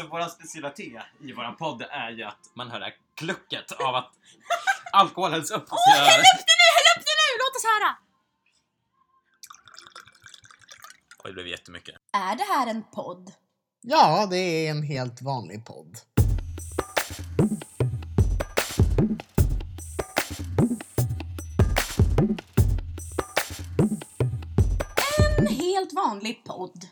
Så våran specialitet i våran podd är ju att man hör det här klucket av att alkohol hälls upp. Åh, häll upp det nu! Häll upp det nu! Låt oss höra! Oj, det blev jättemycket. Är det här en podd? Ja, det är en helt vanlig podd. En helt vanlig podd.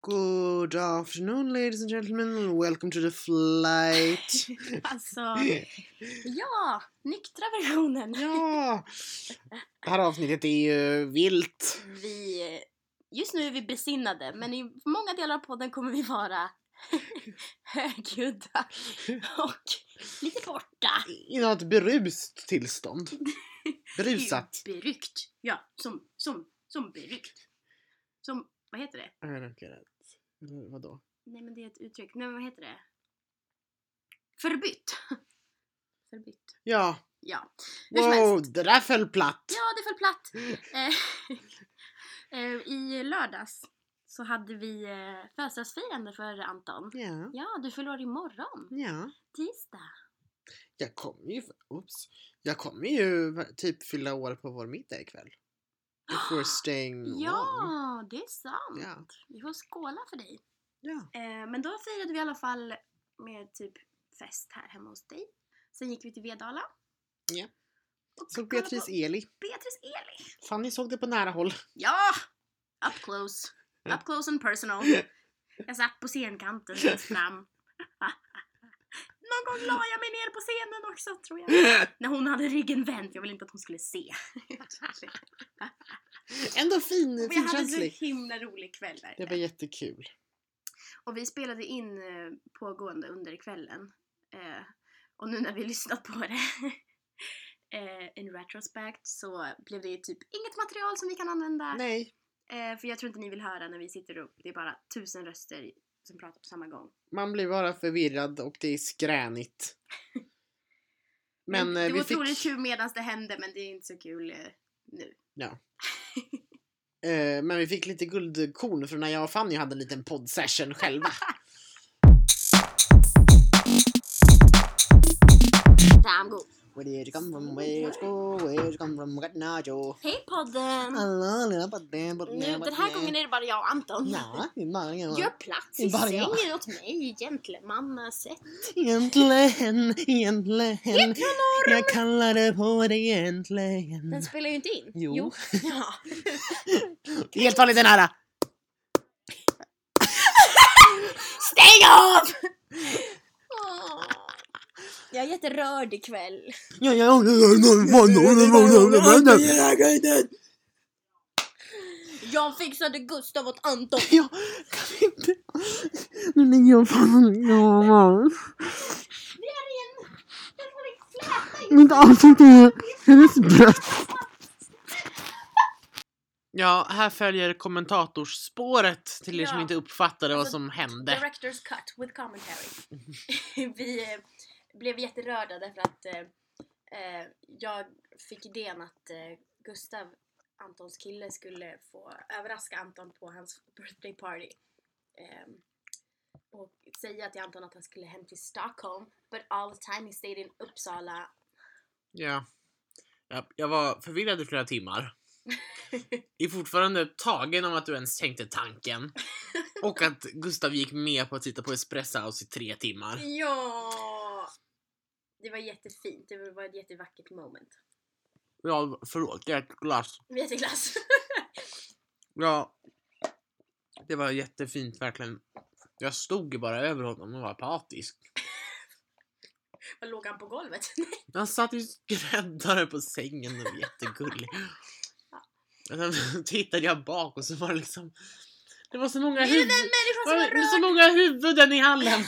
Good afternoon ladies and gentlemen, welcome to the flight. Alltså, ja, nyktra versionen. ja! Det här avsnittet är ju vilt. Vi, just nu är vi besinnade, men i många delar av podden kommer vi vara högljudda och lite borta. I något berust tillstånd. Berusat. Berykt. Ja, som, som, som berykt. Som, vad heter det? Jag vet inte rätt. Eller Vadå? Nej men det är ett uttryck. Nej men vad heter det? Förbytt. Förbytt. Ja. Ja. Hur som helst. Wow, det där föll platt. Ja, det föll platt. Eh, eh, I lördags så hade vi eh, födelsedagsfirande för Anton. Ja. Ja, du förlorar imorgon. Ja. Tisdag. Jag kommer ju... Oops. Jag kommer ju typ fylla år på vår middag ikväll. If we're staying long. Ja, det är sant. Ja. Vi får skåla för dig. Ja. Eh, men då firade vi i alla fall med typ fest här hemma hos dig. Sen gick vi till Vedala. Ja. Och Såg kollade Beatrice på Eli. Beatrice Eli. Fanny såg det på nära håll. Ja! Up close. Up close and personal. Jag satt på scenkanten längst fram. Någon gång la jag mig ner på scenen också tror jag. När hon hade ryggen vänd, jag ville inte att hon skulle se. Ändå fin, Vi hade så finkänslig. himla rolig kväll Det var verkligen. jättekul. Och vi spelade in eh, pågående under kvällen. Eh, och nu när vi lyssnat på det eh, in retrospect så blev det ju typ inget material som vi kan använda. Nej, Eh, för jag tror inte ni vill höra när vi sitter upp. Det är bara tusen röster som pratar på samma gång. man blir bara förvirrad och det är skränigt. Men eh, det var vi otroligt fick, kul medan det hände men det är inte så kul eh, nu. eh, men vi fick lite guldkorn från när jag och Fanny hade en liten poddsession själva. Damn god. Where did you come from? Where did you go? Where did you come from? Got not you. Hej podden! Alla lilla badden, badden, Mm. Nu, den här badden. gången är det bara jag och Anton. Ja, det är bara Gör jag. plats Det i är bara jag. sängen åt mig, gentlemannasätt. Egentligen, egentligen. Jättenorm! Jag kallade på dig egentligen. Den spelar ju inte in. Jo. Ja. Helt vanligt den här. Stäng av! Åh. Jag är jätterörd ikväll. Ja, ja, ja, ja, ja, ja, ja, ja, ja, ja, ja. Jag fixade Gustav åt Anton. Ja, kan vi inte... Nu ligger jag fan ja, Det är en... Den håller på att fläta i. Mitt ansikte är hennes bröst. Ja, här följer kommentatorspåret till er som Ja. inte uppfattade vad Alltså, som hände. Director's cut with commentary. vi eh, blev jätterörda därför att eh, eh, jag fick idén att eh, Gustav, Antons kille, skulle få överraska Anton på hans birthday party. Ehm, och säga till Anton att han skulle hem till Stockholm, but all the time he stayed in Uppsala. Ja. Jag, jag var förvirrad i flera timmar. Är fortfarande tagen om att du ens tänkte tanken. Och att Gustav gick med på att sitta på Espresso House i tre timmar. Ja! Det var jättefint, det var ett jättevackert moment. Ja, förlåt, jag är ett glas. Jätteglass! Ja. Det var jättefint verkligen. Jag stod ju bara över honom och var apatisk. Vad låg han på golvet? Han satt ju skräddare på sängen och var jättegullig. Och sen tittade jag bak och så var det liksom... Det var så många, Är det den huv... människan som var var det rörd? så många huvuden i hallen!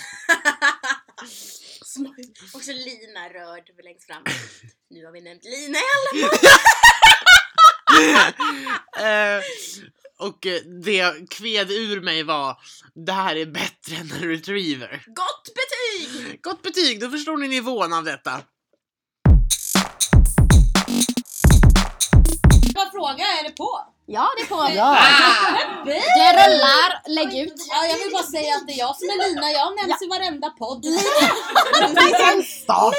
Små- Och så Lina rörd längst fram. Nu har vi nämnt Lina i alla Eh, och eh, det jag kved ur mig var Det här är bättre än en retriever. Gott betyg! Gott betyg, då förstår ni nivån av detta. Vad fråga är det på? Ja, det påverkar. Ja. Det rullar, lägg ut. Ah, Ja, jag vill bara säga att det är jag som är Lina, jag nämns i varenda podd. Liten start.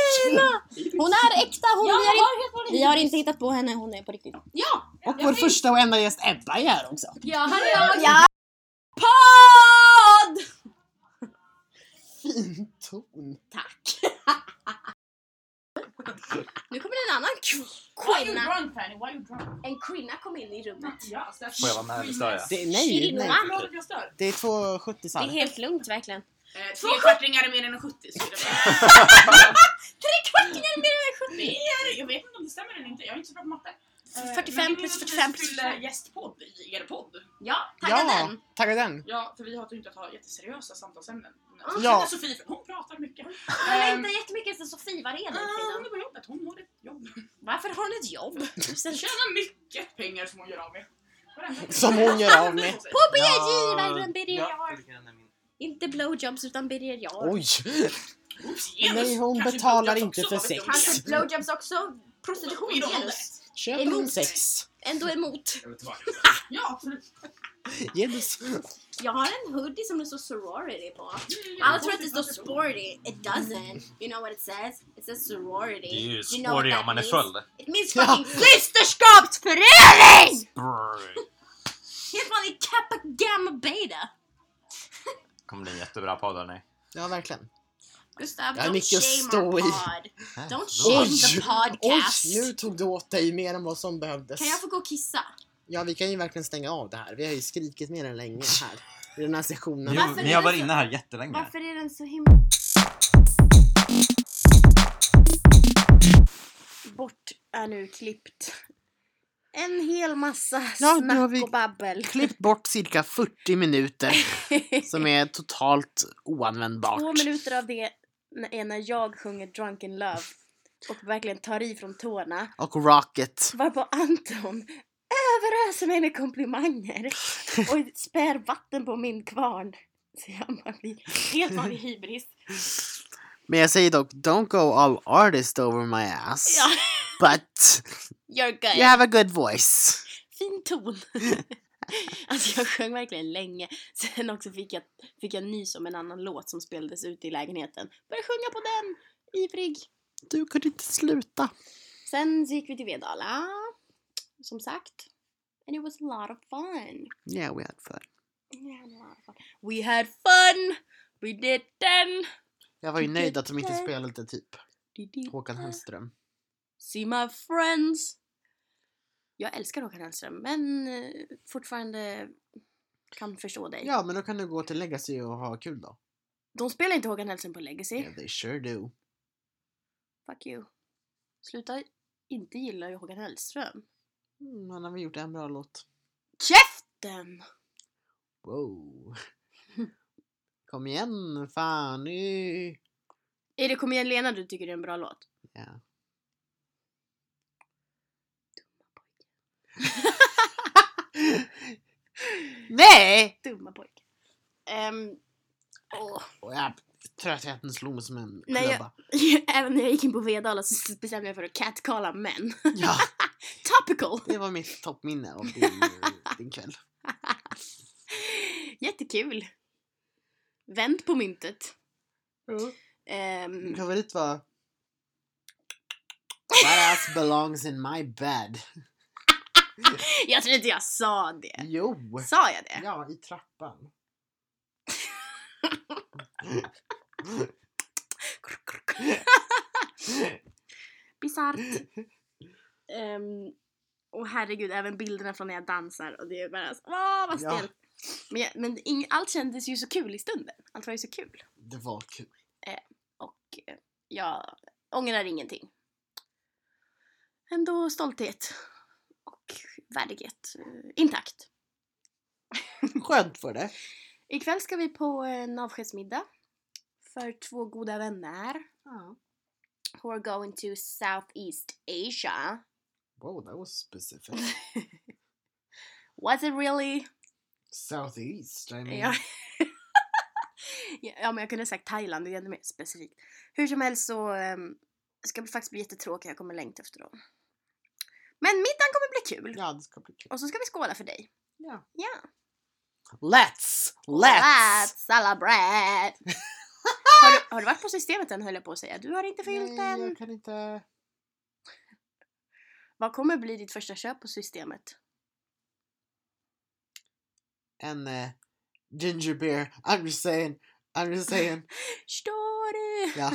Hon är äkta, hon Ja, jag vi, har inte, har helt vanlig vi har inte hittat på henne, hon är på riktigt. Ja! Och vår första och enda gäst Ebba är här också. Ja, här är jag. Podd! Fin ton. Nu kommer en annan Why you kvinna. drunk, Fanny? Why you drunk? En kvinna kom in i rummet. Ja, stackars. Får jag vara med eller stör jag? Det, nej, nej. Kvinna. Förlåt att jag stör. Det är två 70 Det är helt lugnt verkligen. Eh, Tre kvartingar är mer än en 70 så är det bara. Det är- Jag vet inte om det stämmer eller inte, jag är inte så bra på matte. Eh, 45 men det är plus att vi 45 plus skulle 45. gästpodd i er podd. Ja, tagga Ja, den. tagga den. Ja, för vi har ju inte att ha jätteseriösa samtalsämnen. Ja. Ja. Sofie, för Ah. hon pratar mycket. Hon Ehm, längtar jättemycket efter Sofie. Var är den ah, Hon kvinnan? är på jobbet, hon har ett jobb. Varför har hon ett jobb? Hon tjänar mycket pengar som hon gör av med. Varenda- Som hon gör av med. På Givaren Birger Ja, jag. det kan jag nämligen. Inte blowjobs utan Birger jag. Oj. Oops, genus. Nej, hon Kanske betalar blowjobs inte också, för vad vet jag. sex. Kanske blowjobs också. Prostitution Oj, då. genus. Köper hon Emot. sex? Ändå emot. Jag vill tillbaka. Ja, absolut. Genus. Jag har en hoodie som det står sorority på. Mm, Alla tror att det står sporty. It doesn't. You know what it says? It says sorority. Det är ju you know what sporty that om man är means? full. It means Ja. fucking systerskapsförening! Brr. Helt vanlig kappa gamma beta. kommer bli en jättebra podd hörni. Ja, verkligen. Gustav, Jag har don't mycket att shame stå our i. pod. Don't shame Oj. the Oj, podcast. nu tog du åt dig mer än vad som behövdes. Kan jag få gå och kissa? Ja, vi kan ju verkligen stänga av det här. Vi har ju skrikit mer än länge här. I den här sektionen. Jo, Varför ni är har det varit så- inne här jättelänge. Varför är den så himla... Bort är nu klippt. En hel massa Ja, nu har snack vi- och babbel. Klippt bort cirka 40 minuter som är totalt oanvändbart. Två minuter av det är när jag sjunger Drunken Love och verkligen tar i från tårna. Och Rocket. Varpå Anton överöser mig med komplimanger och spär vatten på min kvarn. Så jag bara blir helt vanlig hybris. Men jag säger dock, don't go all artist over my ass. Ja. But You're good. you have a good voice. Fin ton. Alltså jag sjöng verkligen länge. Sen också fick jag, fick jag nys om en annan låt som spelades ute i lägenheten. Började sjunga på den, ivrig. Du kunde inte sluta. Sen så gick vi till Vedala. Som sagt. And it was a lot of fun. Yeah, we had fun. Yeah, a lot of fun. We had fun! We did den! Jag var ju nöjd att de inte spelade typ Did it. Håkan Hellström. See my friends! Jag älskar Håkan Hellström men eh, fortfarande kan förstå dig. Ja, men då kan du gå till Legacy och ha kul då. De spelar inte Håkan Hellström på Legacy. Yeah, they sure do. Fuck you. Sluta inte gilla Håkan Hellström. Mm, han har väl gjort en bra låt. Käften! Wow. Kom igen Fanny. Är det Kom igen Lena du tycker det är en bra låt? Ja. Nej! Dumma pojke. Ehm, åh. Och jag, tröttheten slog mig som en Nej, jag- klubba. Även när jag gick in på Vedala så bestämde jag för att catcalla män. Ja, Topical! det var mitt toppminne av din, eh, din kväll. Jättekul. Vänd på myntet. Min Ehm, favorit var... That ass belongs in my bed. jag tror inte jag sa det. Jo! Sa jag det? Ja, i trappan. Bisarrt. Ehm, och herregud, även bilderna från när jag dansar och det är bara så, åh vad Ja. stelt. Men, jag, men ing, allt kändes ju så kul i stunden. Allt var ju så kul. Det var kul. Och eh, jag ångrar ingenting. Ändå stolthet och värdighet eh, intakt. Skönt för det. Ikväll ska vi på en avskedsmiddag för två goda vänner. Who are going to Southeast Asia. Wow, that was specific. Was it really? Southeast, I mean. Ja. ja, men jag kunde ha sagt Thailand, det är ännu mer specifikt. Hur som helst så ehm, ska det faktiskt bli jättetråkigt, jag kommer längta efter dem. Men middagen kommer bli kul. Ja, det ska bli kul. Och så ska vi skåla för dig. Ja. Ja. Let's! Let's! Let's celebrate! har, du, har du varit på systemet än höll jag på att säga. Du har inte fyllt Nej, än. jag kan inte... Vad kommer bli ditt första köp på systemet? En eh, ginger beer. I'm just saying. I'm just saying. Står du? Ja.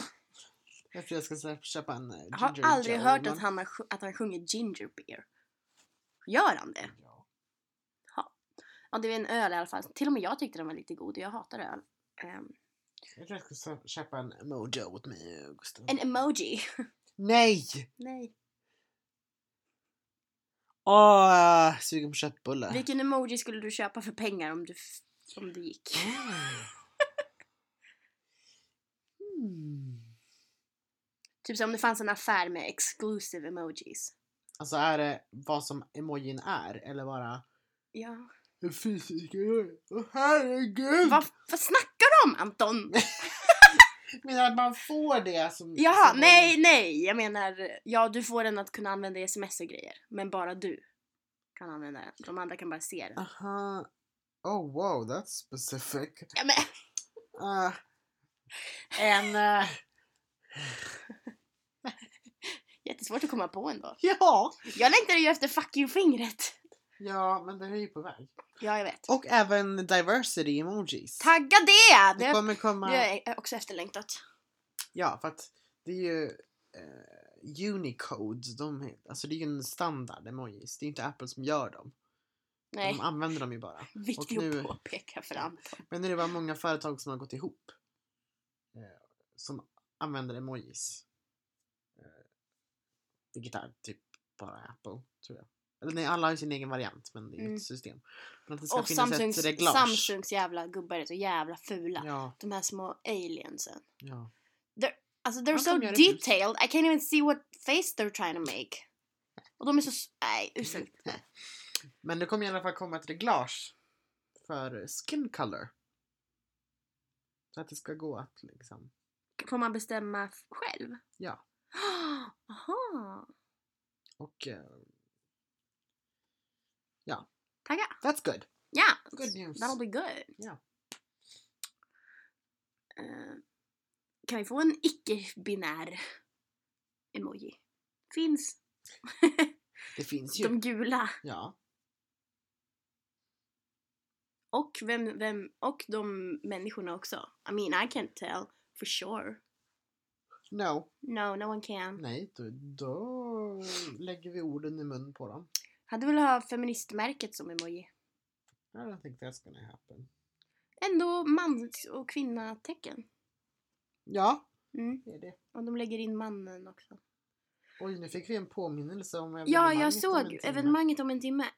Jag tror jag ska sä- köpa en eh, ginger Jag har aldrig ale, hört men- att han, har, sj- att han sjunger ginger beer. Gör han det? Ja. Ja, det är en öl i alla fall. Till och med jag tyckte den var lite god och jag hatar öl. Ehm, Jag tror jag ska sä- köpa en mojo åt mig och Gustav. en emoji. Nej! Nej. Åh, jag är sugen på köttbullar. Vilken emoji skulle du köpa för pengar om du, f- om du gick? Mm. Typ som om det fanns en affär med exclusive emojis. Alltså är det vad som emojin är eller bara Ja. en fysisk emoji? Åh herregud! Vad, vad snackar du om Anton? Menar att man får det som... Jaha, som nej, nej. Jag menar, ja du får den att kunna använda i sms och grejer. Men bara du kan använda den. De andra kan bara se den. Aha. Oh wow, that's specific. Ja, men, Uh, en... eh, jättesvårt att komma på ändå. ja! Jag längtar ju efter fuck you-fingret. Ja, men den är ju på väg. Ja, jag vet. Och även diversity emojis. Tagga det! Det Det, kommer komma... det är också efterlängtat. Ja, för att det är ju eh, Unicode. De, är- alltså det är ju en standard emojis. Det är inte Apple som gör dem. Nej, De använder dem ju bara. viktigt och nu- att påpeka för Anton. Men nu är det bara många företag som har gått ihop. Eh, som använder emojis. Eh, vilket är typ bara Apple, tror jag. Eller nej, alla har ju sin egen variant, men det är ju Mm. ett system. Men att det ska Och finnas Samsungs, ett reglage. Samsungs jävla gubbar är så jävla fula. Ja, De här små aliensen. ja. Alltså they're Ja, so de gör det fult. detailed, I can't even see what face they're trying to make. Och de är så... s- Nej, uselt. Men det kommer i alla fall komma ett reglage för skin color. Så att det ska gå att liksom... Får man bestämma f- själv? Ja. Aha. Och... eh, Tagga. that's good. Ja. Good news. That'll be good. Ja. Eh, kan vi få en icke-binär emoji? Finns. Det finns ju. De gula. Ja. Och, vem, vem, och de människorna också. I mean, I can't tell for sure. No. No, no one can. Nej, då, då lägger vi orden i mun på dem. Hade velat ha feministmärket som emoji. I don't think that's gonna happen. Ändå mans och kvinna-tecken. Ja, Mm. det är det. Och de lägger in mannen också. Oj, nu fick vi en påminnelse om Ja, jag evenemanget om en såg timme. evenemanget om en timme.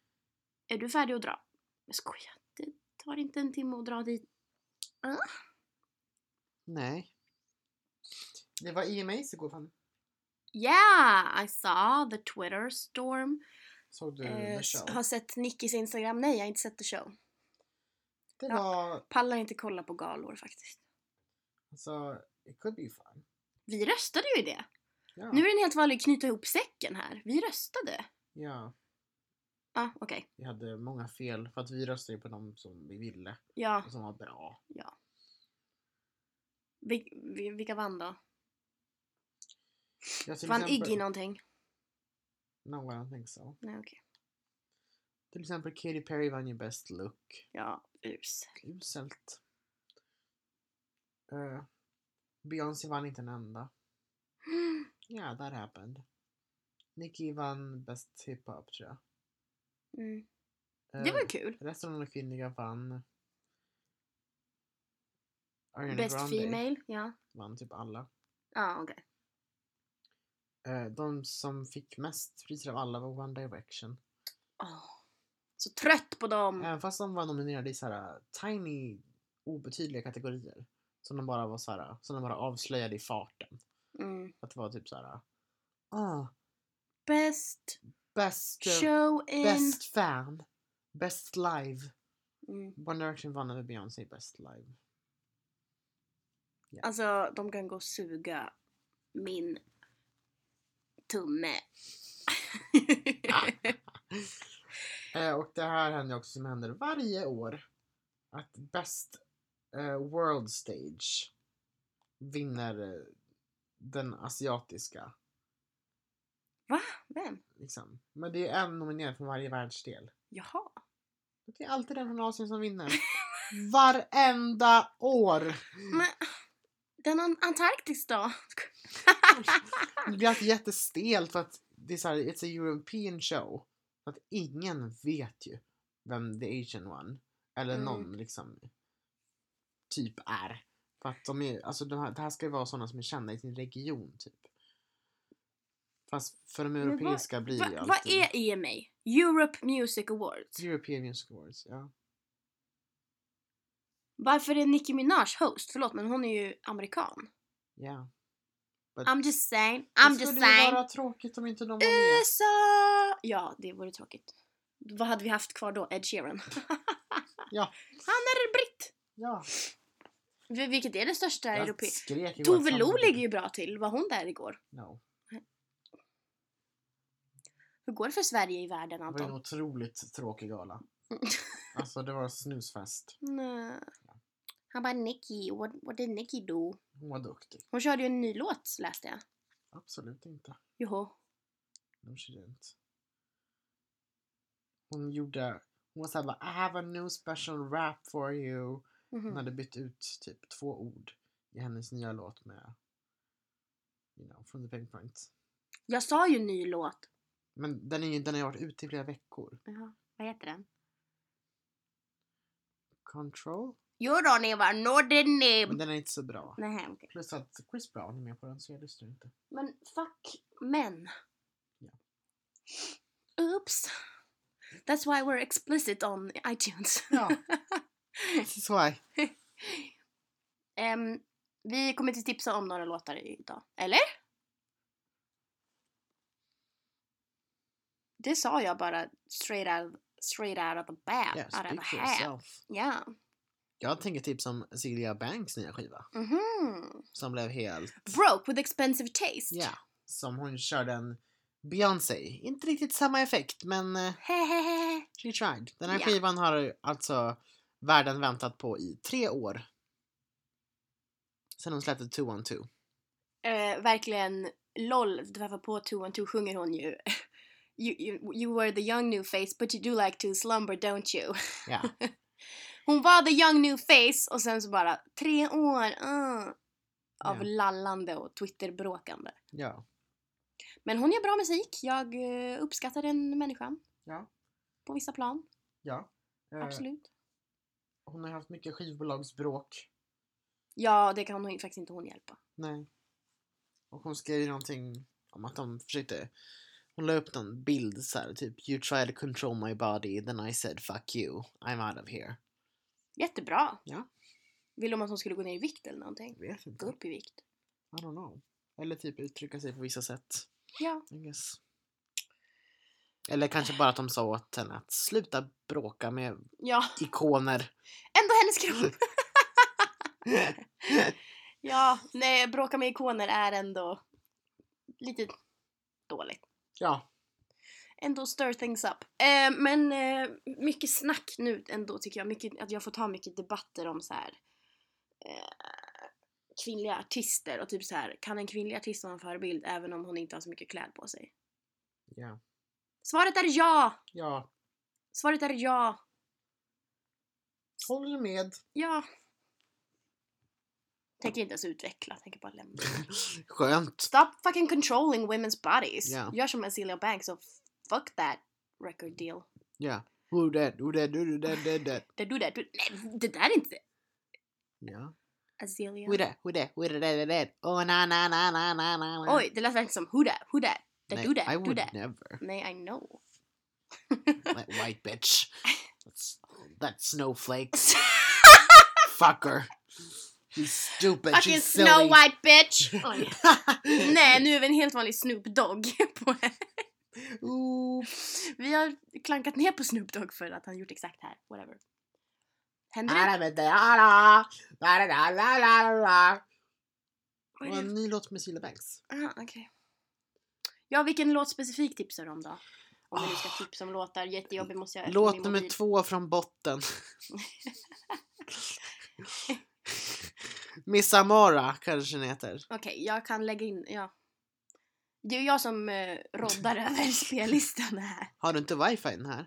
Är du färdig att dra? Jag skojar. Det tar inte en timme att dra dit. Nej. Det var E EMAs igår, Fanny. Yeah! I saw the Twitter storm. Såg du Eh, the s- show? har sett Nickis Instagram. Nej, jag har inte sett the show. Det ja. var, Pallar inte kolla på galor faktiskt. alltså, it could be fun. Vi röstade ju i det. Ja. Nu är det en helt vanlig knyta ihop säcken här. Vi röstade. ja, Ja, okej. vi hade många fel för att vi röstade ju på dem som vi ville Ja. och som var bra. Vi, vi, vilka vann då? Jag till Vann exempel- Iggy någonting? No, I don't think so. Nej, okej. Till exempel Katy Perry vann ju Best Look. Ja, us. uselt. Eh, Beyoncé vann inte en enda. Ja, yeah, that happened. Nicki vann Best Hiphop tror jag. Mm. Eh, Det var ju kul. Resten av de kvinnliga vann... Ariana Best Grande female, ja. vann typ alla. Ja, okej. Eh, de som fick mest priser av alla var One Direction. Åh, Så trött på dem. Även fast de var nominerade i så här tiny, obetydliga kategorier. Som de bara var så här, som de bara avslöjade i farten. Mm. Att det var typ så här. Ah, Best bäst, eh, show in... bäst fan, bäst live. Mm. One Direction vann över Beyoncé i bäst live. Alltså, de kan gå och suga min tumme. Ah. Eh, och det här händer också som händer varje år. Att Best eh, World Stage vinner eh, den asiatiska. Vem? Liksom. Men det är en nominerad från varje världsdel. Jaha. Det är alltid den från Asien som vinner. Varenda år! Men den an- Antarktis då? Det blir alltid jättestelt för att det är såhär, it's a European show. Så att ingen vet ju vem the Asian one, eller Mm. någon liksom, typ är. För att de är, alltså de här, det här ska ju vara sådana som är kända i sin region typ. Fast för de vad- europeiska blir Va, ju vad alltid är EMA? Europe Music Awards. European Music Awards, ja. Varför är Nicki Minaj host? Förlåt men hon är ju amerikan. ja. I'm just saying, I'm det just skulle ju saying. vara tråkigt om inte de var med. USA! Ja, det vore tråkigt. Vad hade vi haft kvar då? Ed Sheeran? Ja. Han är britt! Ja, Vil- Vilket är det största jag europe... skrek igår Tove att Lo samma- ligger ju bra till. Var hon där igår? No. Hur går det för Sverige i världen Det var en Anton? otroligt tråkig gala. Alltså det var snusfest. Nej. Han bara Nicki, what, what did Nicki do? Hon var duktig. Hon körde ju en ny låt läste jag. Absolut inte. Joho. No she didn't. Hon gjorde... Hon var såhär bara I have a new special rap for you. Hon Mhm. hade bytt ut typ två ord i hennes nya låt med... You know, from the Pinpoint. Jag sa ju ny låt. Men den, är, ju- den har ju varit ute i flera veckor. Vad heter den? Control? Jo då ni var nådde ni. Men den är inte så bra. Nej, okej. Plus att Chris Brown är med på den så jag lyssnar inte. Men fuck män. Ja. Oops. That's why we're explicit on iTunes. Ja. This is why. Ehm, vi kommer till tipsa om några låtar idag. Eller? Det sa jag bara straight out, straight out of the bat. Yeah, out of speak the for hat. yourself. Ja. Jag tänker tips om Celia typ Banks nya skiva. Mhm. Som blev helt... Broke with expensive taste. Ja, som hon körde en Beyoncé. Inte riktigt samma effekt men eh, Hehehe. she tried. Den här Ja. skivan har alltså världen väntat på i tre år. Sen hon släppte 212. Eh, verkligen LOL, träffar på Two and Two sjunger hon ju. You, you, you were the young new face but you do like to slumber don't you? Ja. Hon var the young new face och sen så bara tre år ah, av Ja. lallande och twitterbråkande. ja. Men hon gör bra musik. Jag eh, uppskattar den människan. Ja. På vissa plan, ja. Eh, absolut. Hon har haft mycket skivbolagsbråk. Ja, det kan hon, faktiskt inte hon hjälpa. Nej. Och hon skrev ju någonting om att de försökte... Hon la upp någon bild så här, typ You tried to control my body, then I said fuck you, I'm out of here. Jättebra. Ja. Vill de att hon skulle gå ner i vikt eller någonting? Vet inte. Gå upp i vikt. I don't know. Eller typ uttrycka sig på vissa sätt. Ja. I guess. Eller kanske bara att de sa åt henne att sluta bråka med Ja, ikoner. ändå hennes kropp. Ja, nej, bråka med ikoner är ändå lite dåligt. ja, Ändå stir things up. Eh, men eh, mycket snack nu ändå tycker jag. Mycket, att jag får ta mycket debatter om så här eh, kvinnliga artister och typ så här kan en kvinnlig artist vara en förebild även om hon inte har så mycket kläder på sig? ja, Svaret är ja! ja. Svaret är ja! Håller med. Ja! Tänker inte ens utveckla, tänker bara lämna. Skönt. Stop fucking controlling women's bodies. Ja. Gör som Azealia Banks och fuck that record deal. Ja. Who that, who that, who that, who that. Det, do that, do, nej, det där är inte Ja. Azealia. Who that, who that, who that, that, that. Oh na na na na na na. na. Oj, det lät verkligen som who that, who that, that Nej, do that, I do would that. never. Nej, I know. That white bitch. That's, that snowflake. Fucker. She's stupid, fucking she's silly. Snow White bitch! Oj. nej, nu är vi en helt vanlig Snoop Dogg. På Oops. Vi har klankat ner på Snoop Dogg för att han gjort exakt här. Whatever. Händer det? Det Vad är var det? en ny låt med Cilla Banks. Ah, okej. Ja, vilken låt specifikt tipsar du om då? Om vi nu ska tipsa om låtar. Jättejobbig Äh, måste jag Ah. Låt min nummer mobil. två från botten. Miss Amara kanske den heter. Okej, jag kan lägga in, ja. Det är ju jag som eh, roddar över spellistan här. Har du inte wifi den här?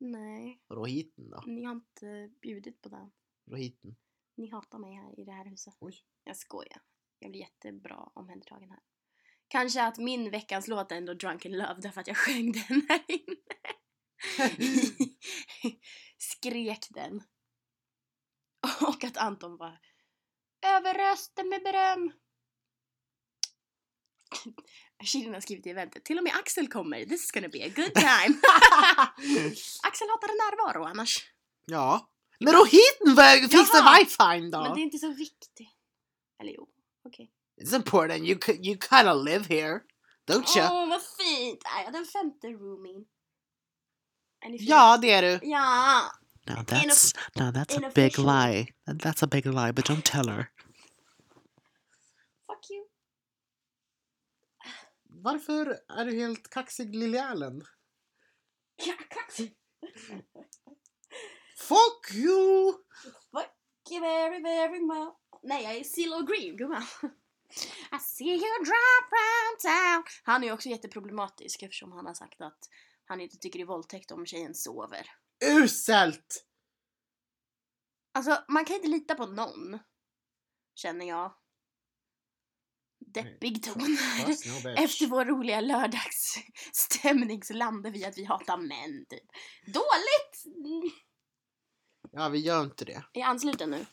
Nej, Rohiten då? ni har inte bjudit på den. Rohiten. Ni hatar mig här i det här huset. Oj. Jag skojar. Jag blir jättebra omhändertagen här. Kanske att min veckans låt är ändå Drunken Love därför att jag sjöng den här inne. Skrek den. Och att Anton var överrösten med beröm. Shirin har skrivit i eventet, till och med Axel kommer, this is gonna be a good time. Axel hatar närvaro annars. Ja. Men Rohiten var- fixar Jaha. wifi då! Men det är inte så viktigt. Eller jo, okej. It's important, you, c- you kinda live here. Don't Åh, you? vad fint! Är jag den femte roomien? Är ni fin? Ja, det är du. Ja! Now that's- now that's a big Inofficial. lie. That's a big lie, but don't tell her. Fuck you! Varför är du helt kaxig Lily Allen? Ja, kaxig! Fuck you! Very, very much. Nej, jag är Cilla Green, gumman. I see you drop round town. Han är ju också jätteproblematisk eftersom han har sagt att han inte tycker det är våldtäkt om tjejen sover. Uselt! Alltså, man kan inte lita på någon. Känner jag. Deppig ton här. Fuck no, bitch. Efter vår roliga lördagsstämning så landar vi i att vi hatar män, typ. Dåligt! Mm. Ja, vi gör inte det. Är jag ansluten nu?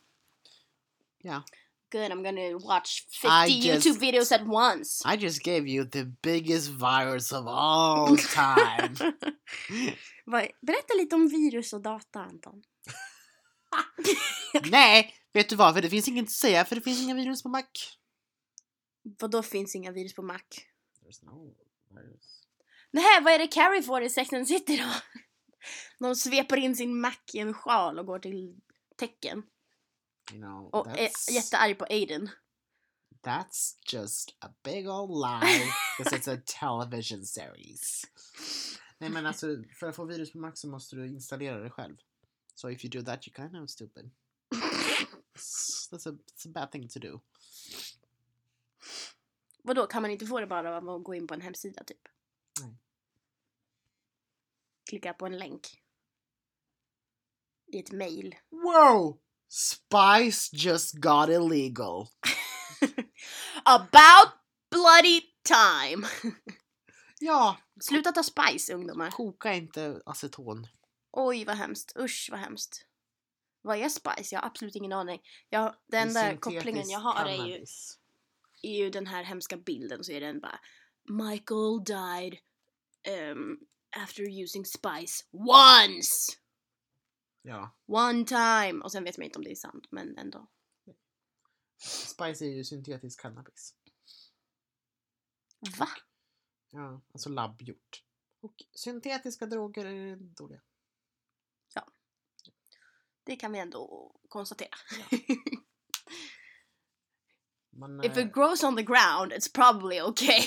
Ja. Good, I'm gonna watch 50 I just- YouTube videos at once. I just gave you the biggest virus of all time. Vad- Berätta lite om virus och data, Anton. Nej, vet du vad? För det finns inget att säga för det finns inga virus på Mac. Vad då finns inga virus på Mac? There's no virus. Nähä, vad är det Carrie får i Sex and the City då? De sveper in sin Mac i en sjal och går till tecken. You know, Och eh, är that's, jättearg på Aiden. that's just a big old lie. Because it's a television series. Nej men alltså, för att få virus på Mac så måste du installera det själv. So if you do that you're kind of stupid. That's a, it's a bad thing to do. Vadå, kan man inte få det bara av att gå in på en hemsida typ? Nej. Klicka på en länk. I ett mail. Whoa! Spice just got illegal. About bloody time! Ja, Sluta ta spice ungdomar. koka inte aceton. Oj vad hemskt, usch vad hemskt. Vad är spice? Jag har absolut ingen aning. Jag, den Det är där syntetisk kopplingen jag har är ju, cannabis. är ju den här hemska bilden så är den bara Michael died ehm, after using spice once! Ja. One time! Och sen vet man inte om det är sant, men ändå. Spice är ju syntetisk cannabis. Va? Ja, alltså labbgjort. Och syntetiska droger är dåliga. Det kan vi ändå konstatera. Man, If eh, it grows on the ground, it's probably okay.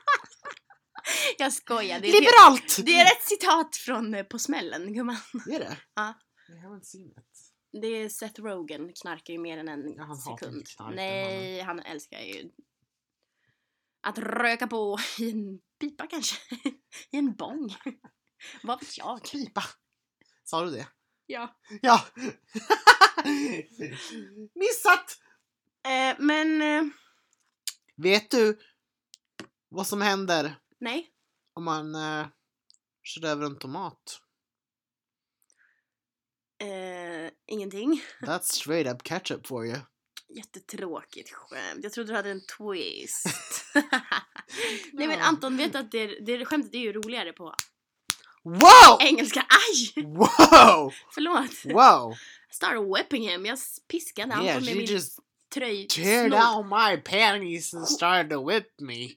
Jag skojar. Det är, det, Liberalt! det är ett citat från eh, På smällen, gumman. Det är det? Ja. Jag har inte sett det. Det är Seth Rogen knarkar ju mer än en Ja, han hatar sekund. inte knark, den Nej, han älskar ju att röka på i en pipa kanske. I en bong. Vad vet jag? Pipa! Sa du det? Ja. Ja! Missat! Eh, men, eh, Vet du vad som händer nej. om man eh, kör över en tomat? Eh, ingenting. That's straight up ketchup for you. Jättetråkigt skämt. Jag trodde du hade en twist. Nej men Anton, vet du att det, det skämtet är ju roligare på Wow! engelska. Aj! Wow! Förlåt. Wow! Started whipping him. Jag piskade Anton Yeah, med she min just tröj. teared snodd. out my panties and started to whip me.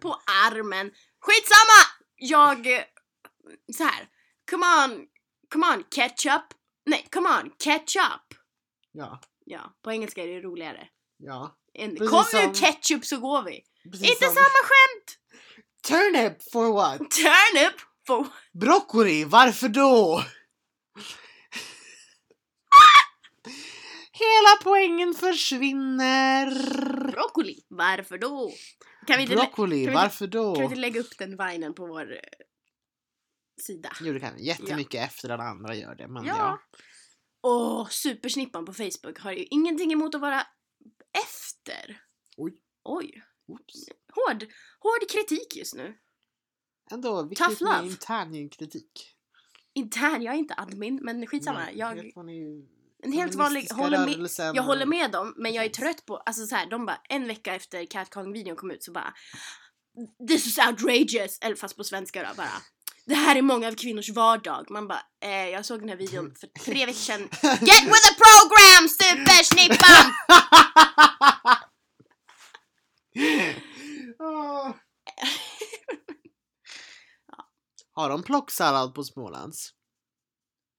på armen. Skitsamma! Jag... eh, Så här. Come on, come on ketchup. Nej, come on ketchup. Ja, Ja, på engelska är det roligare. Ja. En, Precis kom som- nu ketchup så går vi! Precis Inte som- samma skämt! Turnip for what? Turn up! For... Broccoli, varför då? Hela poängen försvinner. Broccoli! Varför då? Kan vi, inte, lä- Broccoli, kan vi- varför kan vi då? inte lägga upp den vinen på vår eh, sida? Jo, det kan vi. Jättemycket efter alla andra gör det. Men Ja. ja. Åh, supersnippan på Facebook har ju ingenting emot att vara efter. Oj. Oj. Oops. Hård, hård kritik just nu. Ändå, Tough viktigt med love. intern kritik. Intern, jag är inte admin, men skitsamma. Nej, Jag, vet vad ni- en helt vanlig, feministiska håller med, rörelsen jag håller och- med dem, men jag är trött på, alltså så här, de bara en vecka efter catcalling-videon kom ut så bara This is outrageous! Eller fast på svenska då bara Det här är många av kvinnors vardag. Man bara, eh, jag såg den här videon för tre veckor sedan. Get with the program supersnippan! Ah. Har de plocksallad på Smålands?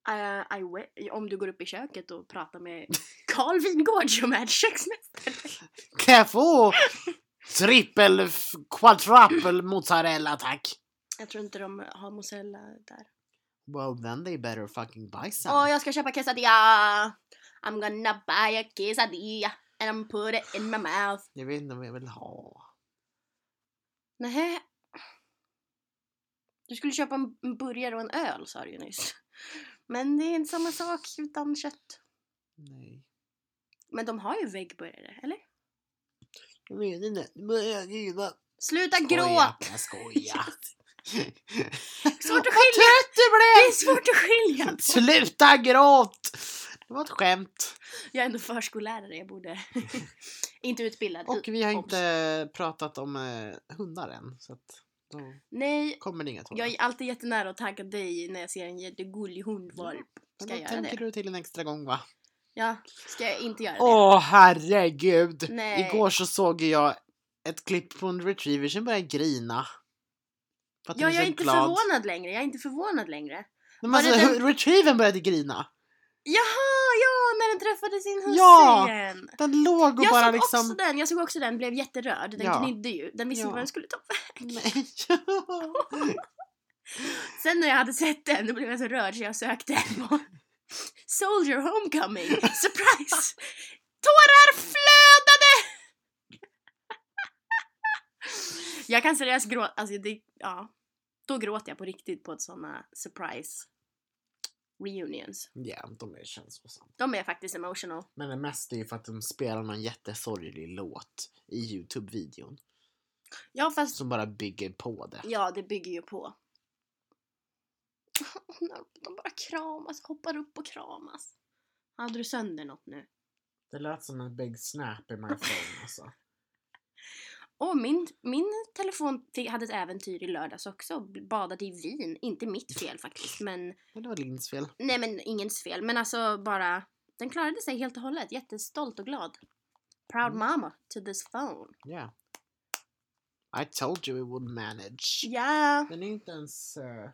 Eh, I wi- om du går upp i köket och pratar med Carl Wingårdh som är köksmästare. Kan jag få trippel, f- quadruple mozzarella tack? Jag tror inte de har mozzarella där. Well then they better fucking buy some. Åh, jag ska köpa quesadilla! I'm gonna buy a quesadilla and I'm put it in my mouth. Jag vet inte om jag vill ha. Nähä. Du skulle köpa en en burgare och en öl sa du ju nyss. Men det är inte samma sak utan kött. Nej. Men de har ju veggburgare, eller? Jag vet inte. Men jag gillar- Sluta Skoja, gråta! Jag skojar. Svårt att Vad skilja! trött Det du är blev! svårt att skilja på! Sluta gråt! Det var ett skämt. Jag är ändå förskollärare, jag borde... inte utbildad. Och vi har Obs. inte pratat om eh, hundar än. Så att då Nej, kommer det inga tårar. jag är alltid jättenära att tagga dig när jag ser en jättegullig hundvalp. ska Men då jag göra tänker det? du till en extra gång va? Ja, ska jag inte göra det? Åh herregud! Nej. Igår så såg jag ett klipp på en retriever som började grina. För att ja, den jag är så inte glad. förvånad längre. Jag är inte förvånad längre. Nej, men Var det alltså, den- hu- Retrievern började grina. Jaha, ja, när den träffade sin husse Ja, igen. Den låg och Jag bara såg liksom... också den, jag såg också den, blev jätterörd. Den Ja. gnydde ju. Den visste Ja. inte vad den skulle ta Nej. Sen när jag hade sett den, då blev jag så rörd så jag sökte på Soldier Homecoming, surprise! Tårar flödade! jag kan seriöst gråta, alltså det, ja. Då gråter jag på riktigt på ett såna surprise reunions. ja, de är känslosamma. De är faktiskt emotional. Men det mesta är ju för att de spelar någon jättesorglig låt i Youtube-videon. Ja fast, Som bara bygger på det. ja det bygger ju på. När De bara kramas, hoppar upp och kramas. Hade du sönder något nu? Det lät som en big snap i my phone alltså. Och min, min telefon fi- hade ett äventyr i lördags också. b- Badade i vin. Inte mitt fel faktiskt. Men, Men det var Linds fel. nej men ingens fel. Men alltså bara. Den klarade sig helt och hållet. Jättestolt och glad. Proud Mm. mama to this phone. Yeah. I told you it would manage. Ja. Den är inte ens... eh,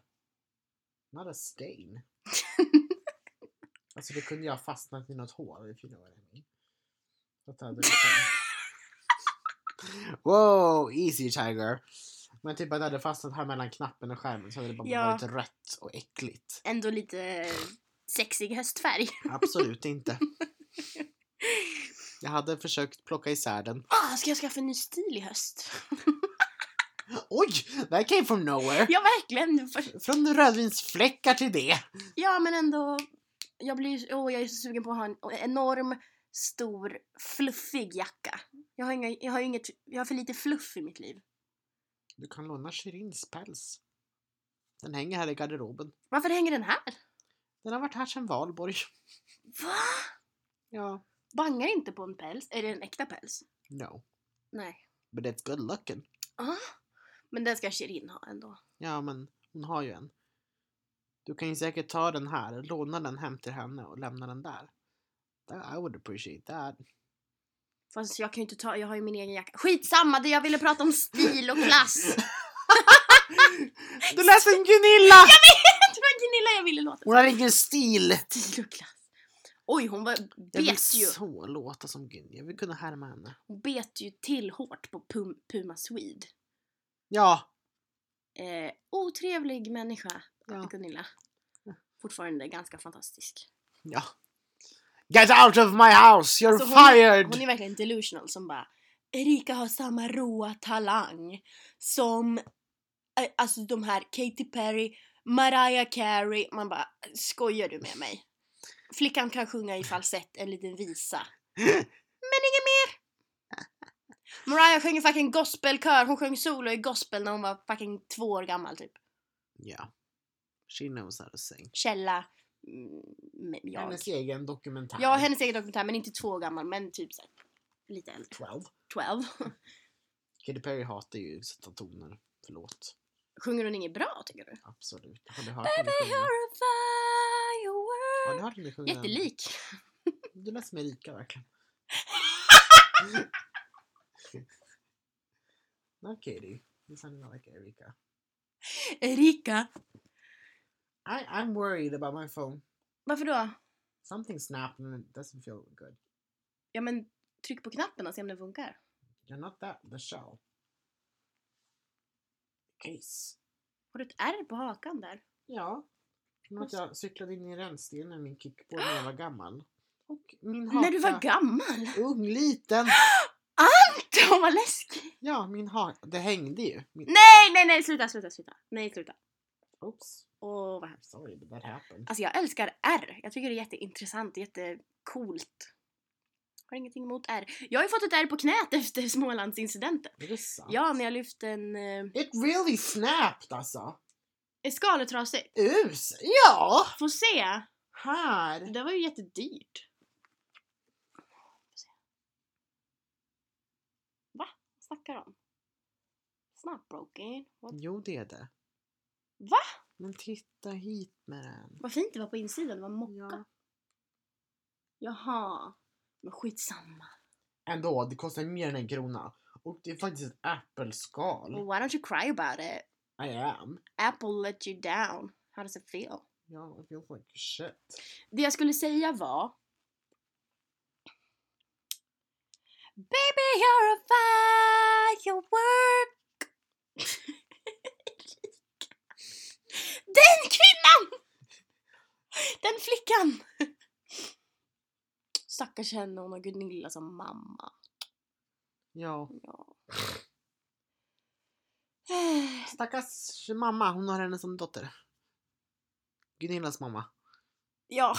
not a stain. alltså det kunde jag ha fastnat i något hål if you know what I mean. Så att det hade liksom... Wow, easy tiger. Men typ att det hade fastnat här mellan knappen och skärmen så hade det bara Ja. varit rött och äckligt. Ändå lite sexig höstfärg. Absolut inte. Jag hade försökt plocka isär den. Ah, ska jag skaffa en ny stil i höst? Oj! That came from nowhere! ja verkligen. För- Från rödvinsfläckar till det! Ja men ändå. Jag blir åh jag är så sugen på att ha en enorm, stor, fluffig jacka. Jag har, inga, jag har inget, jag har för lite fluff i mitt liv. Du kan låna Shirins päls. Den hänger här i garderoben. Varför hänger den här? Den har varit här sedan valborg. Va? Ja. Bangar inte på en päls? Är det en äkta päls? No. Nej. But it's good looking. Ah. Men den ska Shirin ha ändå. Ja, men hon har ju en. Du kan ju säkert ta den här, låna den hem till henne och lämna den där. That- I would appreciate that. Fast jag kan ju inte ta, jag har ju min egen jacka. Skitsamma, det jag ville prata om stil och klass. Du lät som Gunilla! det var Gunilla jag ville låta. Hon har ingen stil! Stil och klass. Oj, hon var, Jag vill bet ju. så låta som Gyn. Jag vill kunna härma henne. Hon bet ju till hårt på Pum, Puma Swede. Ja. Eh, otrevlig människa, eh, Ja. Gunilla. Fortfarande ganska fantastisk. ja. Get out of my house! You're Alltså, hon är- fired! Hon är verkligen delusional som bara Erika har samma råa talang som eh, alltså de här Katy Perry, Mariah Carey. Man bara skojar du med mig? Flickan kan sjunga i falsett en liten visa. Men inget mer! Mariah sjöng i fucking gospelkör, hon sjöng solo i gospel när hon var fucking två år gammal typ. Ja. She knows how to sing. Källa, mm, men jag. Hennes egen dokumentär. Ja, hennes egen dokumentär men inte två år gammal men typ såhär lite äldre. 12. 12. Katy Perry hatar ju att sätta toner. Förlåt. Sjunger hon inget bra tycker du? Absolut. Har du hört henne sjunga? Har du hört henne sjunga? Jättelik. Du lät som Erika verkligen. Not Katie. You sounded not like Erika. Erika. I, I'm worried about my phone. Varför då? Something snapped and it doesn't feel good. Ja men tryck på knappen och se om den funkar. You're not that, the shell. Case. Har du ett R på hakan där? Ja. Som att jag cyklade in i rännstenen med min kickboard när jag var gammal. Och min haka... När du var gammal? Ung, liten. Anton vad läskig! Ja, min haka. Det hängde ju. Min... Nej, nej, nej, sluta, sluta, sluta. Nej, sluta. Oops. Åh, vad hemskt. Sorry, but that happened. Alltså jag älskar R. Jag tycker det är jätteintressant, jättecoolt. Har ingenting emot R. Jag har ju fått ett R på knät efter Smålandsincidenten. Är det sant? Ja, när jag lyft en... Eh, It really snapped alltså. är skalet trasigt? Us. Ja. Får se. Här. Det var ju jättedyrt. Va? Vad snackar de? It's not broken. What? Jo, det är det. Va? Men titta hit med den. Vad fint det var på insidan, det var mocka. Ja. Jaha. Men skitsamma. Ändå, det kostar mer än en krona. Och det är faktiskt ett äppelskal. Well, why don't you cry about it? I am. Apple let you down. How does it feel? Ja, it feels like shit. Det jag skulle säga var... Baby you're a firework Den kvinnan! Den flickan! Stackars henne, hon har Gunilla som mamma. Ja. Ja. Stackars mamma, hon har henne som dotter. Gunillas mamma. Ja.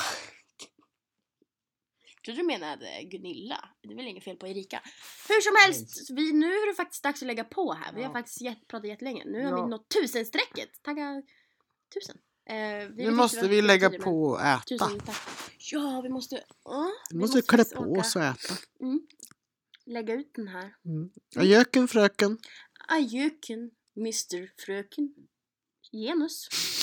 Jag trodde du menade Gunilla. Det är väl inget fel på Erika. Hur som helst, vi, nu är det faktiskt dags att lägga på här. Vi Ja. har faktiskt jätt, pratat jättelänge. Nu har Ja. vi nått tusenstrecket. Tagga tusen. Eh, vi vet Nu inte måste vad vi lägga betyder, på och äta. men Tusen tack. Ja, vi måste... ja, Vi måste klä faktiskt på åka- oss och äta. Lägga ut den här. Ajöken fröken. Ajöken, Mr Fröken. Genus.